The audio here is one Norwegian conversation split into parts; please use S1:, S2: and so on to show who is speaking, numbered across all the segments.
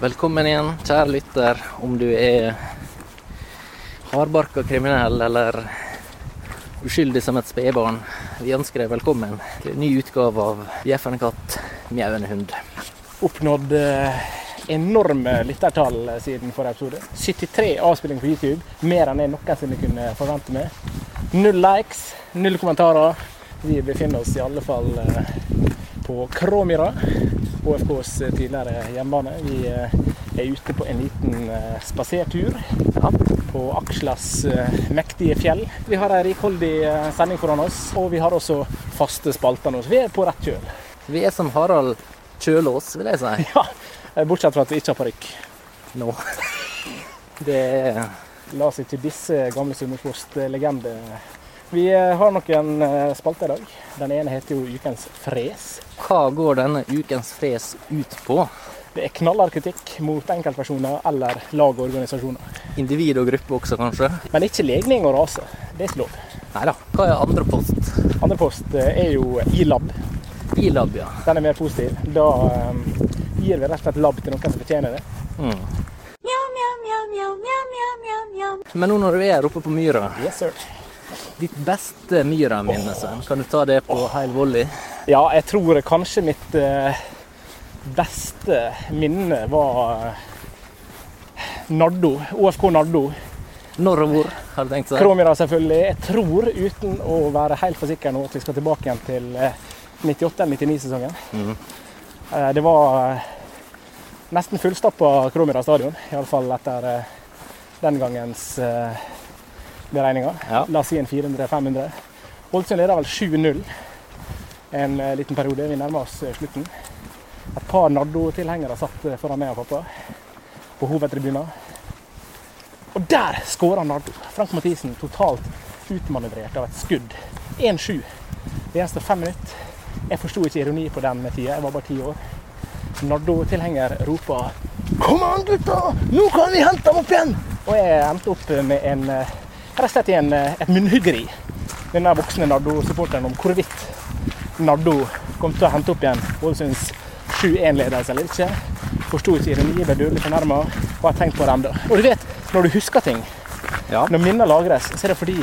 S1: Velkommen igjen, kjære lytter, om du er hardbarka kriminell eller uskyldig som et spedbarn. Vi ønsker deg velkommen til en ny utgave av Bjeffende katt, mjauende hund.
S2: oppnådd eh, enorme lyttertall eh, siden forrige episode. 73 avspillinger på YouTube, mer enn jeg noensinne kunne forvente meg. Null likes, null kommentarer. Vi befinner oss i alle fall eh, på Kråmyra, HFKs eh, tidligere hjemmebane. Vi eh, er ute på en liten eh, spasertur på Akslas eh, mektige fjell. Vi har ei rikholdig eh, sending foran oss, og vi har også faste spalter nå, så vi er på rett kjøl.
S1: Vi er som Harald Kjølås, vil jeg si.
S2: Ja, eh, bortsett fra at vi ikke har parykk.
S1: Nå. Det er
S2: La oss ikke disse gamle Sunnmørspost-legender. Vi eh, har noen eh, spalter i dag. Den ene heter jo Ukens fres.
S1: Hva går denne ukens fres ut på?
S2: Det er knallhard kritikk mot enkeltpersoner eller lag og organisasjoner.
S1: Individ og gruppe også, kanskje?
S2: Men ikke legning og rase. Det er ikke lov.
S1: Nei da. Hva er andre post?
S2: Andre post eh, er jo e-lab.
S1: Bilab, ja.
S2: Den er mer positiv. Da eh, gir vi rett og slett lab til noen som fortjener det.
S1: Mm. Men nå når du er oppe på myra,
S2: Yes, sir.
S1: ditt beste myraminne, Svein, kan du ta det på heil volley?
S2: Ja, jeg tror kanskje mitt eh, beste minne var eh, Nardo. OFK Nardo.
S1: Når og hvor, har du tenkt seg?
S2: Kromira selvfølgelig. Jeg tror, uten å være helt for sikker nå, at vi skal tilbake igjen til eh, 98-99-sesongen.
S1: Mhm.
S2: Det var eh, nesten fullstappa Kromira stadion, iallfall etter eh, den gangens eh, beregninger.
S1: Ja.
S2: La oss si en 400-500. Ålesund leder vel 7-0 en eh, liten periode. Vi nærmer oss eh, slutten. Et par Nardo-tilhengere satt eh, foran meg og pappa på hovedtribunen. Og der skårer Nardo. Frank Mathisen totalt utmanøvrert av et skudd. 1-7. Det gjenstår fem minutter. Jeg forsto ikke ironi på den tida, jeg var bare ti år. Nardo-tilhenger roper 'Kom an, gutta! Nå kan vi hente dem opp igjen!' Og jeg endte opp med en eh, rett og slett i en, eh, et munnhuggeri. Denne voksne Nardo-supporteren om hvorvidt Nardo kom til å hente opp igjen Ålesunds 7-1-ledelse eller ikke. Forsto ikke ironien, ble dødelig fornærma og har tenkt på det ennå. Og du vet, når du husker ting,
S1: Ja,
S2: når minner lagres, så er det fordi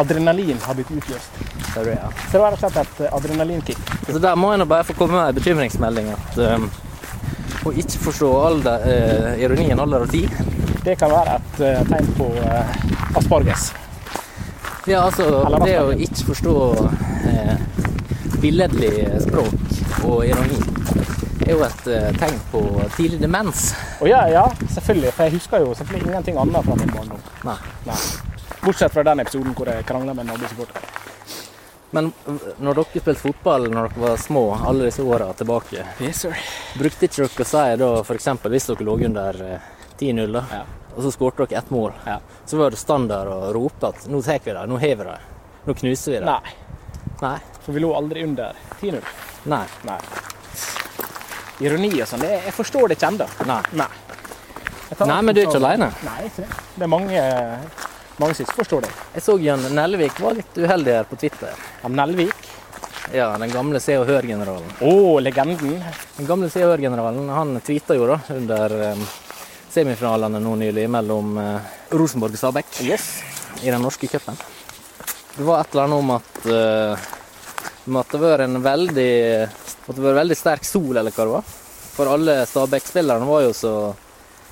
S2: adrenalin har blitt utløst.
S1: det er det, ja.
S2: Så det var rett og slett et eh, adrenalinkick.
S1: Så der må jeg nå bare få komme med en bekymringsmelding at um, å ikke forstå all de, eh, ironien alder og tid
S2: Det kan være et eh, tegn på eh, asparges.
S1: Ja, altså
S2: Eller hva
S1: det å
S2: skal jeg-
S1: ikke forstå eh, billedlig språk og ironi er jo et eh, tegn på tidlig demens.
S2: Og ja, ja, selvfølgelig. For jeg husker jo selvfølgelig ingenting annet fra min barndom.
S1: Nei.
S2: Nei. Bortsett fra den episoden hvor jeg krangla med en nabosupporter.
S1: Men eh, når dere spilte fotball når dere var små, alle disse åra tilbake,
S2: Yes, sir.
S1: brukte ikke dere å si da f.eks. hvis dere lå under eh, 10-0, da,
S2: Ja.
S1: og så skårte dere ett mål,
S2: Ja.
S1: så var det standard å rope at nå tar vi det, nå har vi det, nå knuser vi det.
S2: Nei,
S1: Nei.
S2: for vi lå aldri under 10-0.
S1: Nei.
S2: Nei. Ironi og sånn, det- jeg forstår det ikke ennå.
S1: Nei.
S2: Nei. Jeg tar
S1: Nei,
S2: alt
S1: men du er
S2: ut
S1: ikke
S2: av-
S1: alene.
S2: Nei, ikke det. Det er mange, mange som ikke forstår det.
S1: Jeg så Jan Nelvik var litt uheldig her på Twitter.
S2: Ja, Nelvik.
S1: Ja, den gamle Se og Hør-generalen.
S2: Å, legenden.
S1: Den gamle Se og Hør-generalen han tweeta jo da under eh, semifinalene nå nylig mellom eh, Rosenborg og Stabæk
S2: Yes.
S1: i den norske cupen. Det var et eller annet om at eh, om at det var en veldig at det var veldig sterk sol, eller hva det var. For alle Stabæk-spillerne var jo så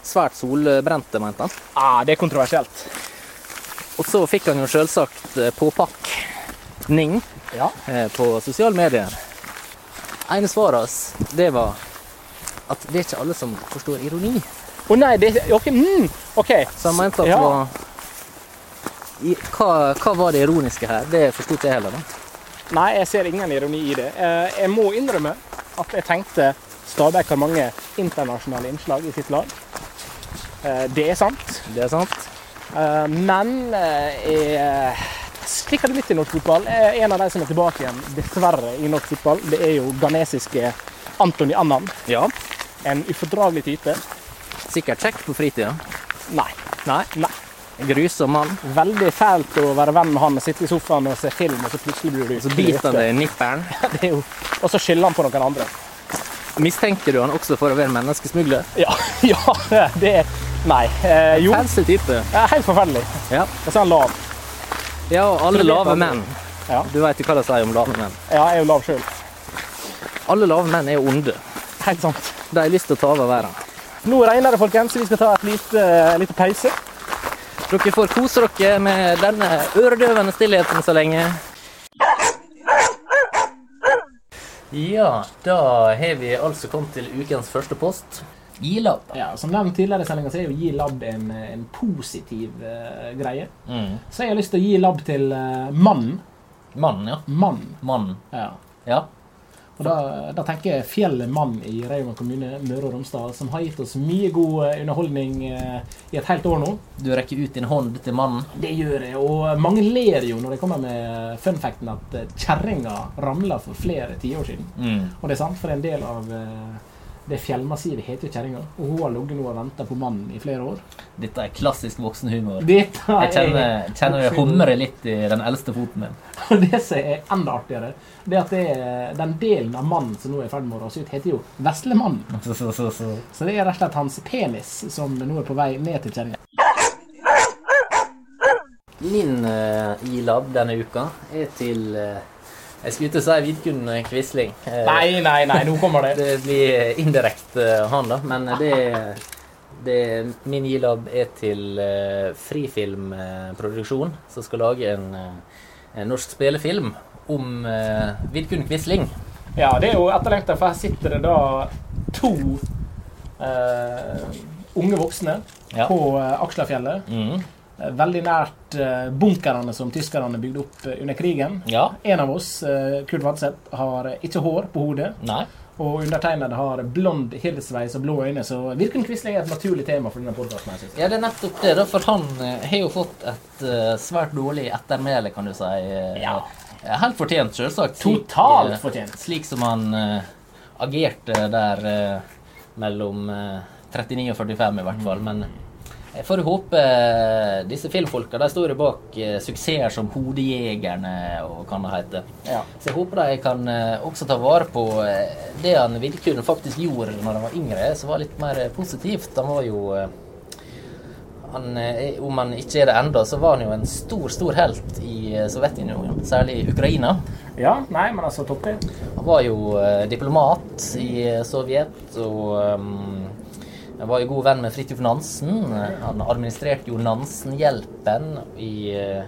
S1: svært solbrente, mente han.
S2: Ah, det er kontroversielt.
S1: Og så fikk han jo selvsagt eh, påpakning
S2: Ja.
S1: eh, på sosiale medier. Ene svaret hans, det var at det er ikke alle som forstår ironi.
S2: Å nei, det er OK. Mm, ok.
S1: Så han mente at det
S2: Ja.
S1: var i, hva, hva var det ironiske her? Det forsto ikke jeg heller. da.
S2: Nei, jeg ser ingen ironi i det. Eh, Jeg må innrømme at jeg tenkte Stabæk har mange internasjonale innslag i sitt lag. Eh, Det er sant.
S1: Det er sant.
S2: Eh, Men eh, jeg, slik har det blitt i norsk fotball. Eh, En av de som er tilbake igjen, dessverre, i norsk fotball, det er jo ghanesiske Antony Annan.
S1: Ja.
S2: En ufordragelig type.
S1: Sikkert kjekt på fritida.
S2: Nei.
S1: Nei.
S2: Nei.
S1: Grusom mann.
S2: Veldig fælt å være venn med han og sitte i sofaen og se film, og så plutselig blir du
S1: Så biter han deg i nipperen.
S2: Det er jo- Og så skylder han på noen andre.
S1: Mistenker du han også for å være menneskesmugler?
S2: Ja, ja det er Nei. Eh, jo,
S1: Fancy type.
S2: det er helt forferdelig.
S1: Ja.
S2: Og så er han lav.
S1: ja, og alle lave menn.
S2: Ja.
S1: Du veit jo hva de sier om lave menn.
S2: Ja, jeg er jo lav sjøl.
S1: Alle lave menn er onde.
S2: Helt sant.
S1: De har lyst til å ta over verden.
S2: Nå regner det, folkens. så Vi skal ta et lite, en liten pause.
S1: Dere får kose dere med denne øredøvende stillheten så lenge. Ja, da har vi altså kommet til ukens første post. Ilab.
S2: Ja, Som nevnt tidligere i sendinga, så er jo gi labb en, en positiv eh, greie.
S1: Mm.
S2: Så jeg har lyst til å gi labb til eh, mannen.
S1: Mann, ja.
S2: Mann.
S1: Mann.
S2: Ja.
S1: Ja.
S2: Og da, da tenker jeg Fjellet Mann i Rauma kommune, Møre og Romsdal, som har gitt oss mye god eh, underholdning eh, i et helt år nå.
S1: Du rekker ut din hånd til mannen.
S2: Det gjør jeg, og mange ler jo når jeg kommer med funfacten at eh, kjerringa ramla for flere tiår siden.
S1: Mm.
S2: Og det er sant, for en del av eh, det fjellmassivet heter jo kjerringa. Og hun har ligget nå og venta på mannen i flere år.
S1: Dette er klassisk voksenhumor.
S2: Dette er-
S1: Jeg kjenner, kjenner det humrer litt i den eldste foten min.
S2: Og det som er enda artigere, det er at det er den delen av mannen som nå er i ferd med å rase ut, heter jo Veslemannen.
S1: Så, så, så, så.
S2: Så det er rett og slett hans penis som nå er på vei ned til kjerringa.
S1: Min eh, ilab denne uka er til eh, Jeg skulle ikke si Vidkun Quisling. Eh,
S2: Nei, nei, nei, nå kommer det.
S1: Det blir indirekte eh, han, da. Men det, det Min ilab er til eh, frifilmproduksjon, som skal lage en, eh, en norsk spillefilm om eh, Vidkun Quisling.
S2: Ja, det er jo etterlengta, for her sitter det da to eh, unge voksne
S1: Ja.
S2: på eh, Akslafjellet.
S1: Mm.
S2: eh, Veldig nært eh, bunkerne som tyskerne bygde opp eh, under krigen.
S1: Ja.
S2: En av oss, eh, Kurt Vadseth, har eh, ikke hår på hodet.
S1: Nei.
S2: Og undertegnede har blond hilsveis og blå øyne, så Vidkun Quisling er et naturlig tema for denne podkasten.
S1: Ja, det er nettopp det, da, for han eh, har jo fått et eh, svært dårlig ettermæle, kan du si. eh,
S2: Ja.
S1: eh, Helt fortjent, selvsagt. slik,
S2: Totalt
S1: eh,
S2: fortjent.
S1: Slik som han eh, agerte der eh, mellom eh, 39 og 45, i hvert fall. Men jeg får jo håpe eh, disse filmfolka de står jo bak eh, suksesser som 'Hodejegerne' og hva det heter.
S2: Ja.
S1: Så jeg håper de kan eh, også ta vare på eh, det han Vidkun faktisk gjorde når han var yngre, som var litt mer eh, positivt. Han var jo eh, han, eh, Om han ikke er det enda, så var han jo en stor, stor helt i eh, Sovjetunionen, særlig i Ukraina.
S2: ja. Nei, men altså, Toppe
S1: Han var jo eh, diplomat i eh, Sovjet og ehm, han var jo god venn med Fridtjof Nansen. Eh, Han administrerte jo Nansen-hjelpen i, eh,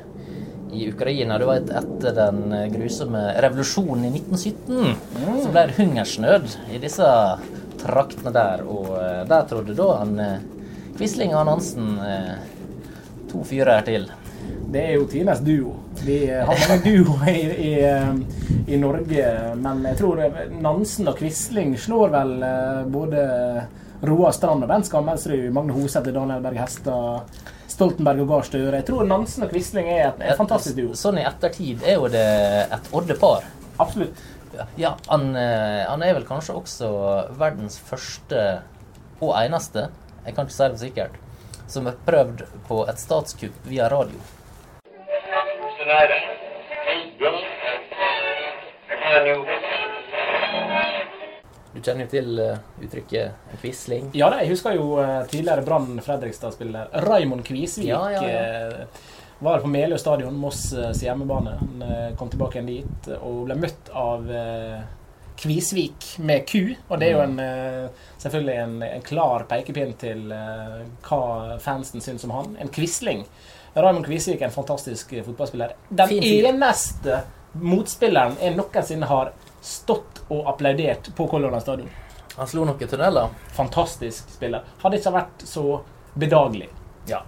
S1: i Ukraina. Du vet, etter den eh, grusomme revolusjonen i 1917 så ble det hungersnød i disse traktene der. Og eh, der trodde da han eh, Quisling og Nansen eh, to fyrer til.
S2: Det er jo tidenes duo. Vi eh, har mange duoer i, i, eh, i Norge, men jeg tror eh, Nansen og Quisling slår vel eh, både Roar Strand og Bent Skammelsrud, Magne Hoseth og Daniel Berg Hestad, Stoltenberg og Gahr Støre. Jeg tror Nansen og Quisling er et, et fantastisk duo.
S1: Sånn i ettertid er jo det et oddepar.
S2: Absolutt.
S1: Ja, han, eh, han er vel kanskje også verdens første og eneste, jeg kan ikke si det sikkert, som er prøvd på et statskupp via radio.
S3: Snyder. Bill. Agnew.
S1: Du kjenner jo til eh, uttrykket Quisling.
S2: Ja da, jeg husker jo eh, tidligere Brann Fredrikstad-spiller Raymond Kvisvik.
S1: Ja, ja, ja.
S2: eh, Var på Meløy stadion, Moss eh, sin hjemmebane. Han eh, kom tilbake igjen dit eh, og ble møtt av eh, Kvisvik med ku. Og det er jo
S1: Mm.
S2: en, eh, selvfølgelig en, en klar pekepinn til eh, hva fansen syns om han. En quisling. Raymond Kvisvik er en fantastisk eh, fotballspiller. Den
S1: Fin fyr.
S2: eneste motspilleren jeg noensinne har stått og applaudert på Color Line stadion.
S1: Han slo noen tunneler.
S2: Fantastisk spiller. Hadde ikke vært så bedagelig.
S1: Ja.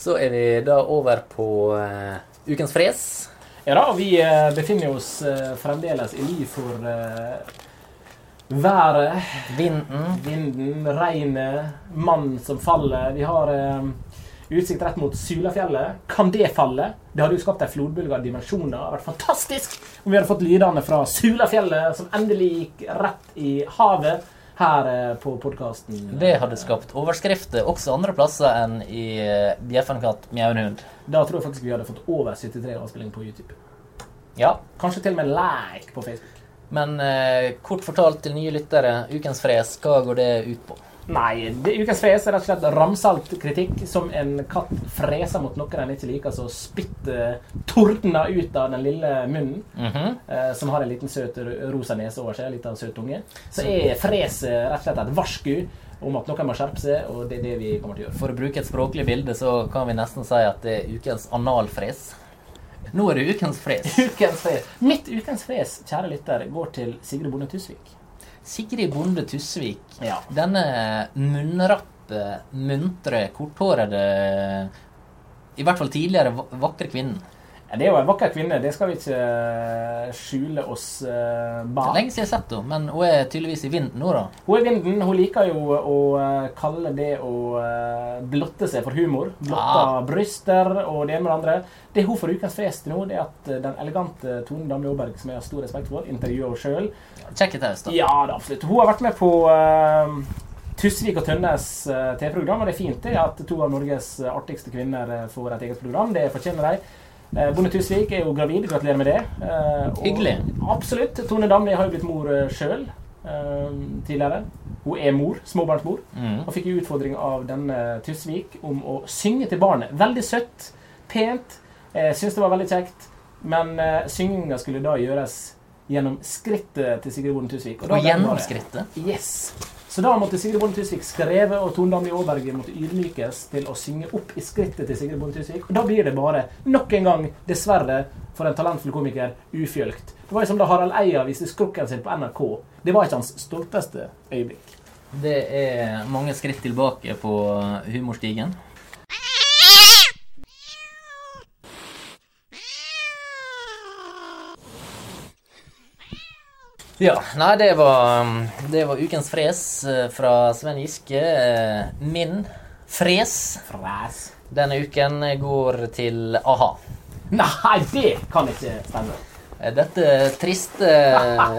S1: Så er vi da over på eh, ukens fres.
S2: Ja da, vi eh, befinner oss eh, fremdeles i ly for eh, været,
S1: Vinden.
S2: vinden, regnet, mannen som faller. Vi har eh, Utsikt rett mot Sulafjellet. Kan det falle? Det hadde jo skapt en flodbølge av dimensjoner. Det hadde vært fantastisk om vi hadde fått lydene fra Sulafjellet, som endelig gikk rett i havet, her eh, på podkasten.
S1: Det hadde skapt overskrifter også andre plasser enn i eh, Bjeffen katt, mjau en hund.
S2: Da tror jeg faktisk vi hadde fått over 73 avspillinger på YouTube.
S1: Ja,
S2: Kanskje til og med like på Facebook.
S1: men eh, kort fortalt til nye lyttere, Ukens fres, hva går det ut på?
S2: Nei, det, Ukens fres er rett og slett ramsalt kritikk som en katt freser mot noe den ikke liker, så spytter tordna ut av den lille munnen,
S1: Mhm.
S2: eh, som har en liten søt ro- rosa nese over seg, en liten søt tunge. Så er freset rett og slett et varsku om at noen må skjerpe seg, og det er det vi kommer til å gjøre.
S1: For å bruke et språklig bilde så kan vi nesten si at det er ukens analfres. Nå er det ukens fres.
S2: Ukens fres. Mitt ukens fres, kjære lytter, går til Sigrid Bonde Tusvik.
S1: Sigrid Bonde Tusvik,
S2: Ja.
S1: denne munnrappe, muntre, korthårede I hvert fall tidligere va- vakre kvinnen.
S2: Ja, Det er jo en vakker kvinne, det skal vi ikke eh, skjule oss eh,
S1: Det er
S2: bak.
S1: lenge siden jeg har sett henne, men hun er tydeligvis i vinden nå, da.
S2: Hun er vinden. Hun liker jo å eh, kalle det å eh, blotte seg for humor. Blotta
S1: Ah.
S2: bryster og det ene med det andre. Det hun får ukens fest til nå, det er at eh, den elegante Tone Damli Aaberg, som jeg har stor respekt for, intervjuer henne sjøl.
S1: Check it out, da.
S2: Ja, det er absolutt. Hun har vært med på eh, Tusvik og Tønnes eh, TV-program, og det er fint det at to av Norges artigste kvinner eh, får et eget program. Det fortjener de. Eh, Bonde Tusvik er jo gravid, gratulerer med det. Eh, og-
S1: Hyggelig.
S2: Absolutt. Tone Damli har jo blitt mor sjøl tidligere. Hun er mor, småbarnsmor.
S1: Mm.
S2: Og fikk jo utfordring av denne Tusvik om å synge til barnet. Veldig søtt, pent. Jeg syns det var veldig kjekt. Men uh, synginga skulle da gjøres gjennom skrittet til Sigrid Bonde Tusvik. da
S1: Og
S2: ble det bare-
S1: gjennomskrittet.
S2: Yes. Så da måtte Sigrid Bonde Tusvik skreve, og Tone Damli Aaberge måtte ydmykes til å synge opp i skrittet til Sigrid Bonde Tusvik. Og da blir det bare, nok en gang, dessverre, for en talentfull komiker, ufjølgt. Det var jo som da Harald Eia viste skrukken sin på NRK. Det var ikke hans stolteste øyeblikk.
S1: Det er mange skritt tilbake på humorstigen. Ja, nei, det var, det var ukens fres eh, fra Sven Giske. Eh, Min fres
S2: Fræs.
S1: denne uken går til a-ha.
S2: Nei, det kan ikke stemme.
S1: Eh, Dette triste eh,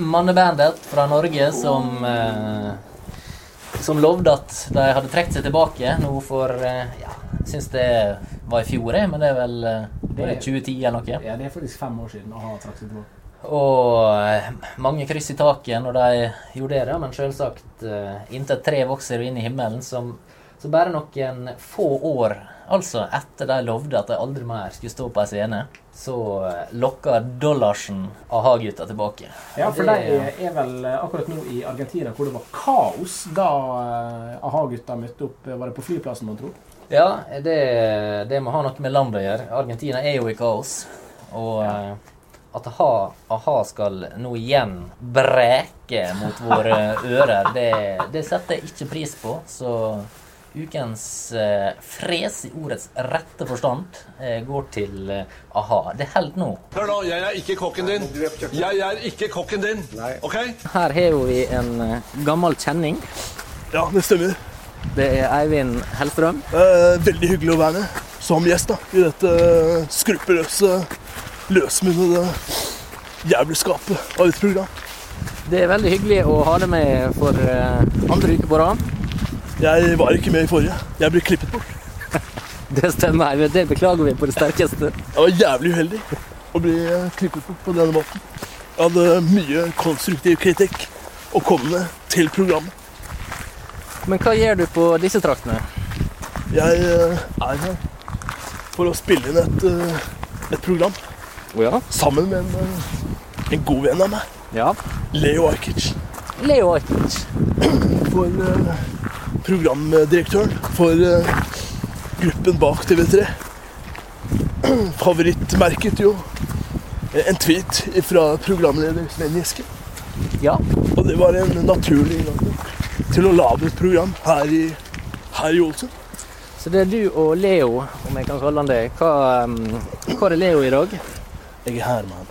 S1: mannebandet fra Norge som eh, Som lovde at de hadde trukket seg tilbake nå for eh, ja, Syns det var i fjor, jeg, men det er vel eh, var det 2010 eller noe.
S2: Ja, Det er faktisk fem år siden å ha trakk seg tilbake.
S1: Og eh, mange kryss i taket når de gjorde det, da, men selvsagt eh, inntil tre vokser jo inn i himmelen, som, så bare noen få år, altså etter de lovde at de aldri mer skulle stå på ei scene, så eh, lokker dollarsen aha-gutta tilbake.
S2: Ja, for
S1: Det-
S2: de er- er vel eh, akkurat nå i Argentina, hvor det var kaos da eh, a-ha-gutta møtte opp. eh, Var det på flyplassen, mon tro?
S1: Ja, det, det må ha noe med landet å gjøre. Argentina er jo i kaos. Og eh, at ha, a-ha skal nå igjen breke mot våre ører, det, det setter jeg ikke pris på. Så ukens eh, fres i ordets rette forstand eh, går til eh, a-ha. Det holder nå.
S4: Hør nå, jeg er ikke kokken din. Jeg er ikke kokken din. OK?
S1: Her har vi en eh, gammel kjenning.
S5: Ja, det stemmer.
S1: Det er Eivind Hellstrøm.
S5: Eh, veldig hyggelig å være med som gjest da, i dette eh, skruppeløse, løsmunnede jævelskapet av et program.
S1: Det er veldig hyggelig å ha deg med for eh, andre uke på rad.
S5: Jeg var ikke med i forrige. Jeg ble klippet bort.
S1: Det stemmer, Eivind. Det beklager vi på det sterkeste.
S5: Jeg var jævlig uheldig å bli eh, klippet bort på denne måten. Jeg hadde mye konstruktiv kritikk å komme med til programmet.
S1: Men hva gjør du på disse traktene?
S5: Jeg eh, er her for å spille inn et, eh, et program
S1: ja.
S5: sammen med en, eh, en god venn av meg, Leo Ajkic.
S1: Leo Ajkic.
S5: for eh, programdirektøren for eh, gruppen bak TV3. Favorittmerket jo en tweet fra programleder Sven Giske.
S1: Ja.
S5: Og det var en naturlig inngang til å lage et program her i, her i Ålesund.
S1: Så det er du og Leo, om jeg kan kalle han det. Hva, um, hvor er Leo i dag?
S5: Jeg er her, mann.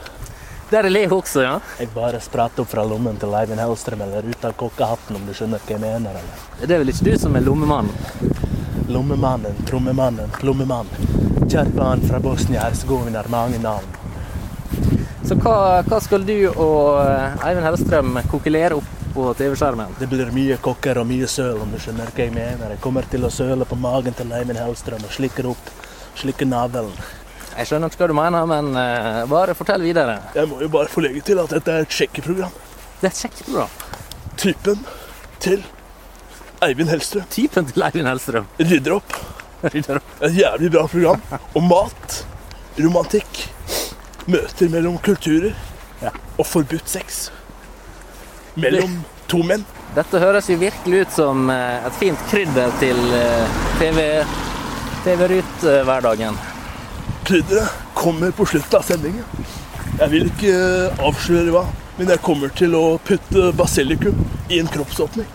S1: Der er Leo også, ja.
S5: Jeg bare spratt opp fra lommen til Eivind Hellstrøm eller ut av kokkehatten, om du skjønner hva jeg mener. eller?
S1: Det er vel ikke du som er lommemann?
S5: Lommemannen, trommemannen, plommemann. Kjært barn fra Bosnia-Hercegovina har mange navn.
S1: Så hva, hva skal du og eh, Eivind Hellstrøm kokelere opp på TV-skjermen?
S5: Det blir mye kokker og mye søl, om du skjønner hva jeg mener. Jeg kommer til å søle på magen til Eivind Hellstrøm og slikker opp, slikker navlen.
S1: Jeg skjønner ikke hva du mener, men eh, bare fortell videre.
S5: Jeg må jo bare få legge til at dette er et sjekkeprogram.
S1: Det er et kjekt program.
S5: Typen til Eivind Hellstrøm
S1: Typen til Eivind Hellstrøm.
S5: rydder opp.
S1: Rydder opp.
S5: Et jævlig bra program om mat, romantikk, møter mellom kulturer
S1: Ja.
S5: og forbudt sex. Mellom to menn.
S1: Dette høres jo virkelig ut som eh, et fint krydder til eh, TV eh, TV-rut-hverdagen.
S5: Krydderet kommer på slutten av sendingen. Jeg vil ikke eh, avsløre hva, men jeg kommer til å putte basilikum i en kroppsåpning.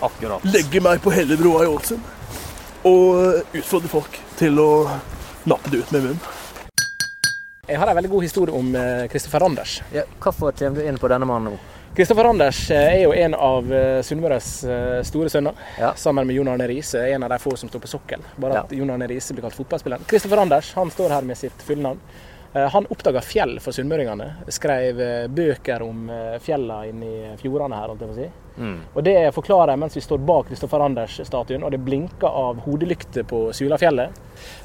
S1: Akkurat.
S5: Legge meg på Hellebroa i Ålesund og eh, utfordre folk til å nappe det ut med munnen.
S2: Jeg har en veldig god historie om eh, Kristoffer Anders.
S1: Ja, hvorfor kommer du inn på denne mannen nå?
S2: Kristoffer Anders eh, er jo en av eh, Sunnmøres eh, store sønner.
S1: Ja.
S2: Sammen med Jon Arne Riise, en av de få som står på sokkel. Bare at
S1: Ja.
S2: Jon Arne Riise blir kalt fotballspilleren. Kristoffer Anders han står her med sitt fulle navn. Eh, Han oppdaga fjell for sunnmøringene. Skrev eh, bøker om eh, fjella inni fjordene her, holdt jeg på å si.
S1: Mm.
S2: Og det forklarer jeg mens vi står bak Kristoffer Anders-statuen, og det blinker av hodelykter på Sulafjellet.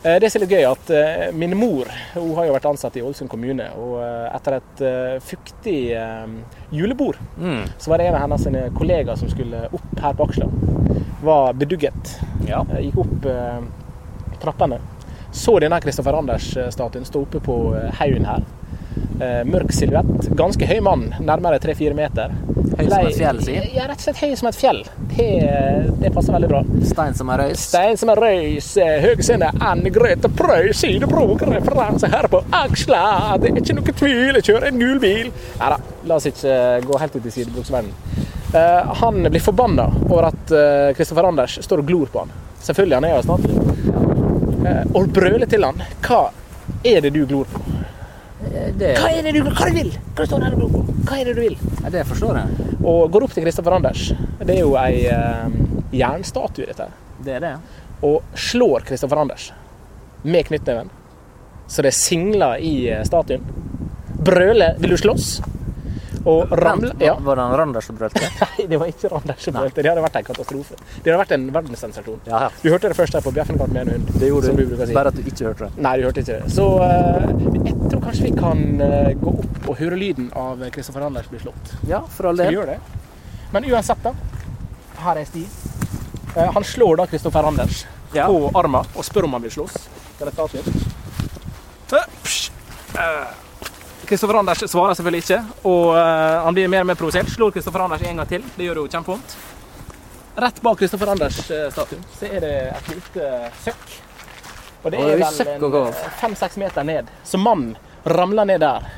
S2: Eh, Det som er litt gøy, er at eh, min mor hun har jo vært ansatt i Ålesund kommune, og eh, etter et eh, fuktig eh, julebord,
S1: Mm.
S2: så var det en av hennes sine kollegaer som skulle opp her på Aksla. Var bedugget.
S1: Ja.
S2: Eh, Gikk opp eh, trappene. Så denne Kristoffer Anders-statuen stå oppe på eh, haugen her. Eh, Mørk silhuett. Ganske høy mann, nærmere 3-4 meter.
S1: Høy som
S2: Blei-
S1: et fjell, sier.
S2: Ja, rett og slett høy som et fjell. Det, eh, det passer veldig bra.
S1: Stein som er røys.
S2: Stein som en røys, Høgsene, Anne Grete Preus, Sidebrok, referanse her på aksla. Det er ikke noe tvil, jeg kjører en gul bil. Nei da, la oss ikke eh, gå helt ut i sidebruksverdenen. Eh, han blir forbanna over at eh, Kristoffer Anders står og glor på han. Selvfølgelig, han er jo snart. Eh, og brøler til han. Hva er det du glor på?
S1: Eh, Det,
S2: Hva er det du, hva er det du vil? Hva står det her og glor på? Hva er det du vil?
S1: ja, det forstår jeg.
S2: Og går opp til Kristoffer Anders. Det er jo ei eh, jernstatue, dette. her.
S1: Det er det.
S2: Og slår Kristoffer Anders med knyttneven. Så det singler i eh, statuen. Brøler 'Vil du slåss?' Og ramler
S1: Vent,
S2: Ja.
S1: Var det han Randers som brølte?
S2: Nei, det var ikke Anders som brølte. Det hadde vært en katastrofe. Det hadde vært en verdenssensasjon.
S1: Ja, ja.
S2: Du hørte det først her på 'Bjeffen katt med en hund'. Det gjorde som du bruker å si.
S1: Bare at du ikke hørte det.
S2: Nei, du hørte ikke det. Så eh, jeg tror kanskje vi kan eh, gå opp og høre lyden av Kristoffer Anders bli slått.
S1: Ja, for all
S2: Skal vi
S1: del.
S2: gjøre det? Men uansett, da. Her er Stig. Eh, Han slår da Kristoffer Anders
S1: Ja.
S2: på armen og spør om han vil slåss. Skal jeg ta til? Eh, psj. Eh, Kristoffer Anders svarer selvfølgelig ikke, og eh, han blir mer og mer provosert. Slår Kristoffer Anders en gang til. Det gjør jo kjempevondt. Rett bak Kristoffer Anders-statuen så er det et lite eh, søkk. Og det
S1: Og
S2: er
S1: det er
S2: vel
S1: søkk å
S2: en,
S1: gå
S2: eh, fem-seks meter ned. Så mannen ramler ned der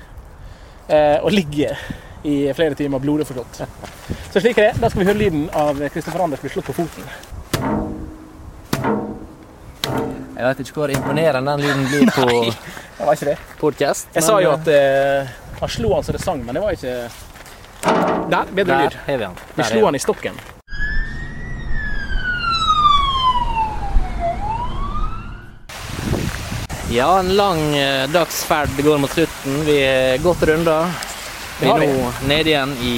S2: eh, og ligger i flere timer blodig forslått. Så slik er det. Da skal vi høre lyden av Kristoffer Anders bli slått på foten.
S1: Jeg vet ikke hvor imponerende den lyden blir på
S2: Det var ikke det.
S1: podkast.
S2: Jeg sa jo at eh, han slo han så det sang, men det var ikke Der, bedre
S1: Der
S2: lyd.
S1: har vi han.
S2: Vi
S1: Der er
S2: slo han i stokken.
S1: Ja, en lang eh, dagsferd går mot slutten. Vi har gått runder. Vi
S2: Det har
S1: er nå nede igjen i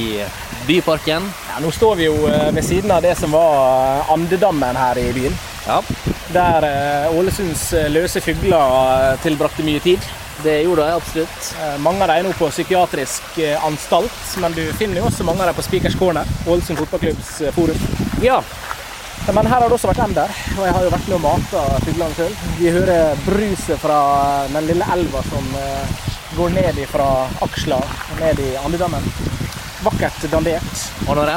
S1: Byparken.
S2: Ja, nå står vi jo eh, ved siden av det som var eh, andedammen her i byen.
S1: Ja,
S2: Der eh, Ålesunds eh, løse fugler eh, tilbrakte mye tid.
S1: det gjorde jeg absolutt.
S2: Eh, Mange av dem er nå på psykiatrisk eh, anstalt, men du finner jo også mange av dem på Speakers Corner, Ålesund fotballklubbs eh, forum.
S1: Ja,
S2: Ja, Men her har det også vært ender, og jeg har jo vært med og mata fuglene sjøl. Vi hører bruset fra eh, den lille elva som eh, går ned fra aksla ned i andedammen. Vakkert dandert.
S1: og når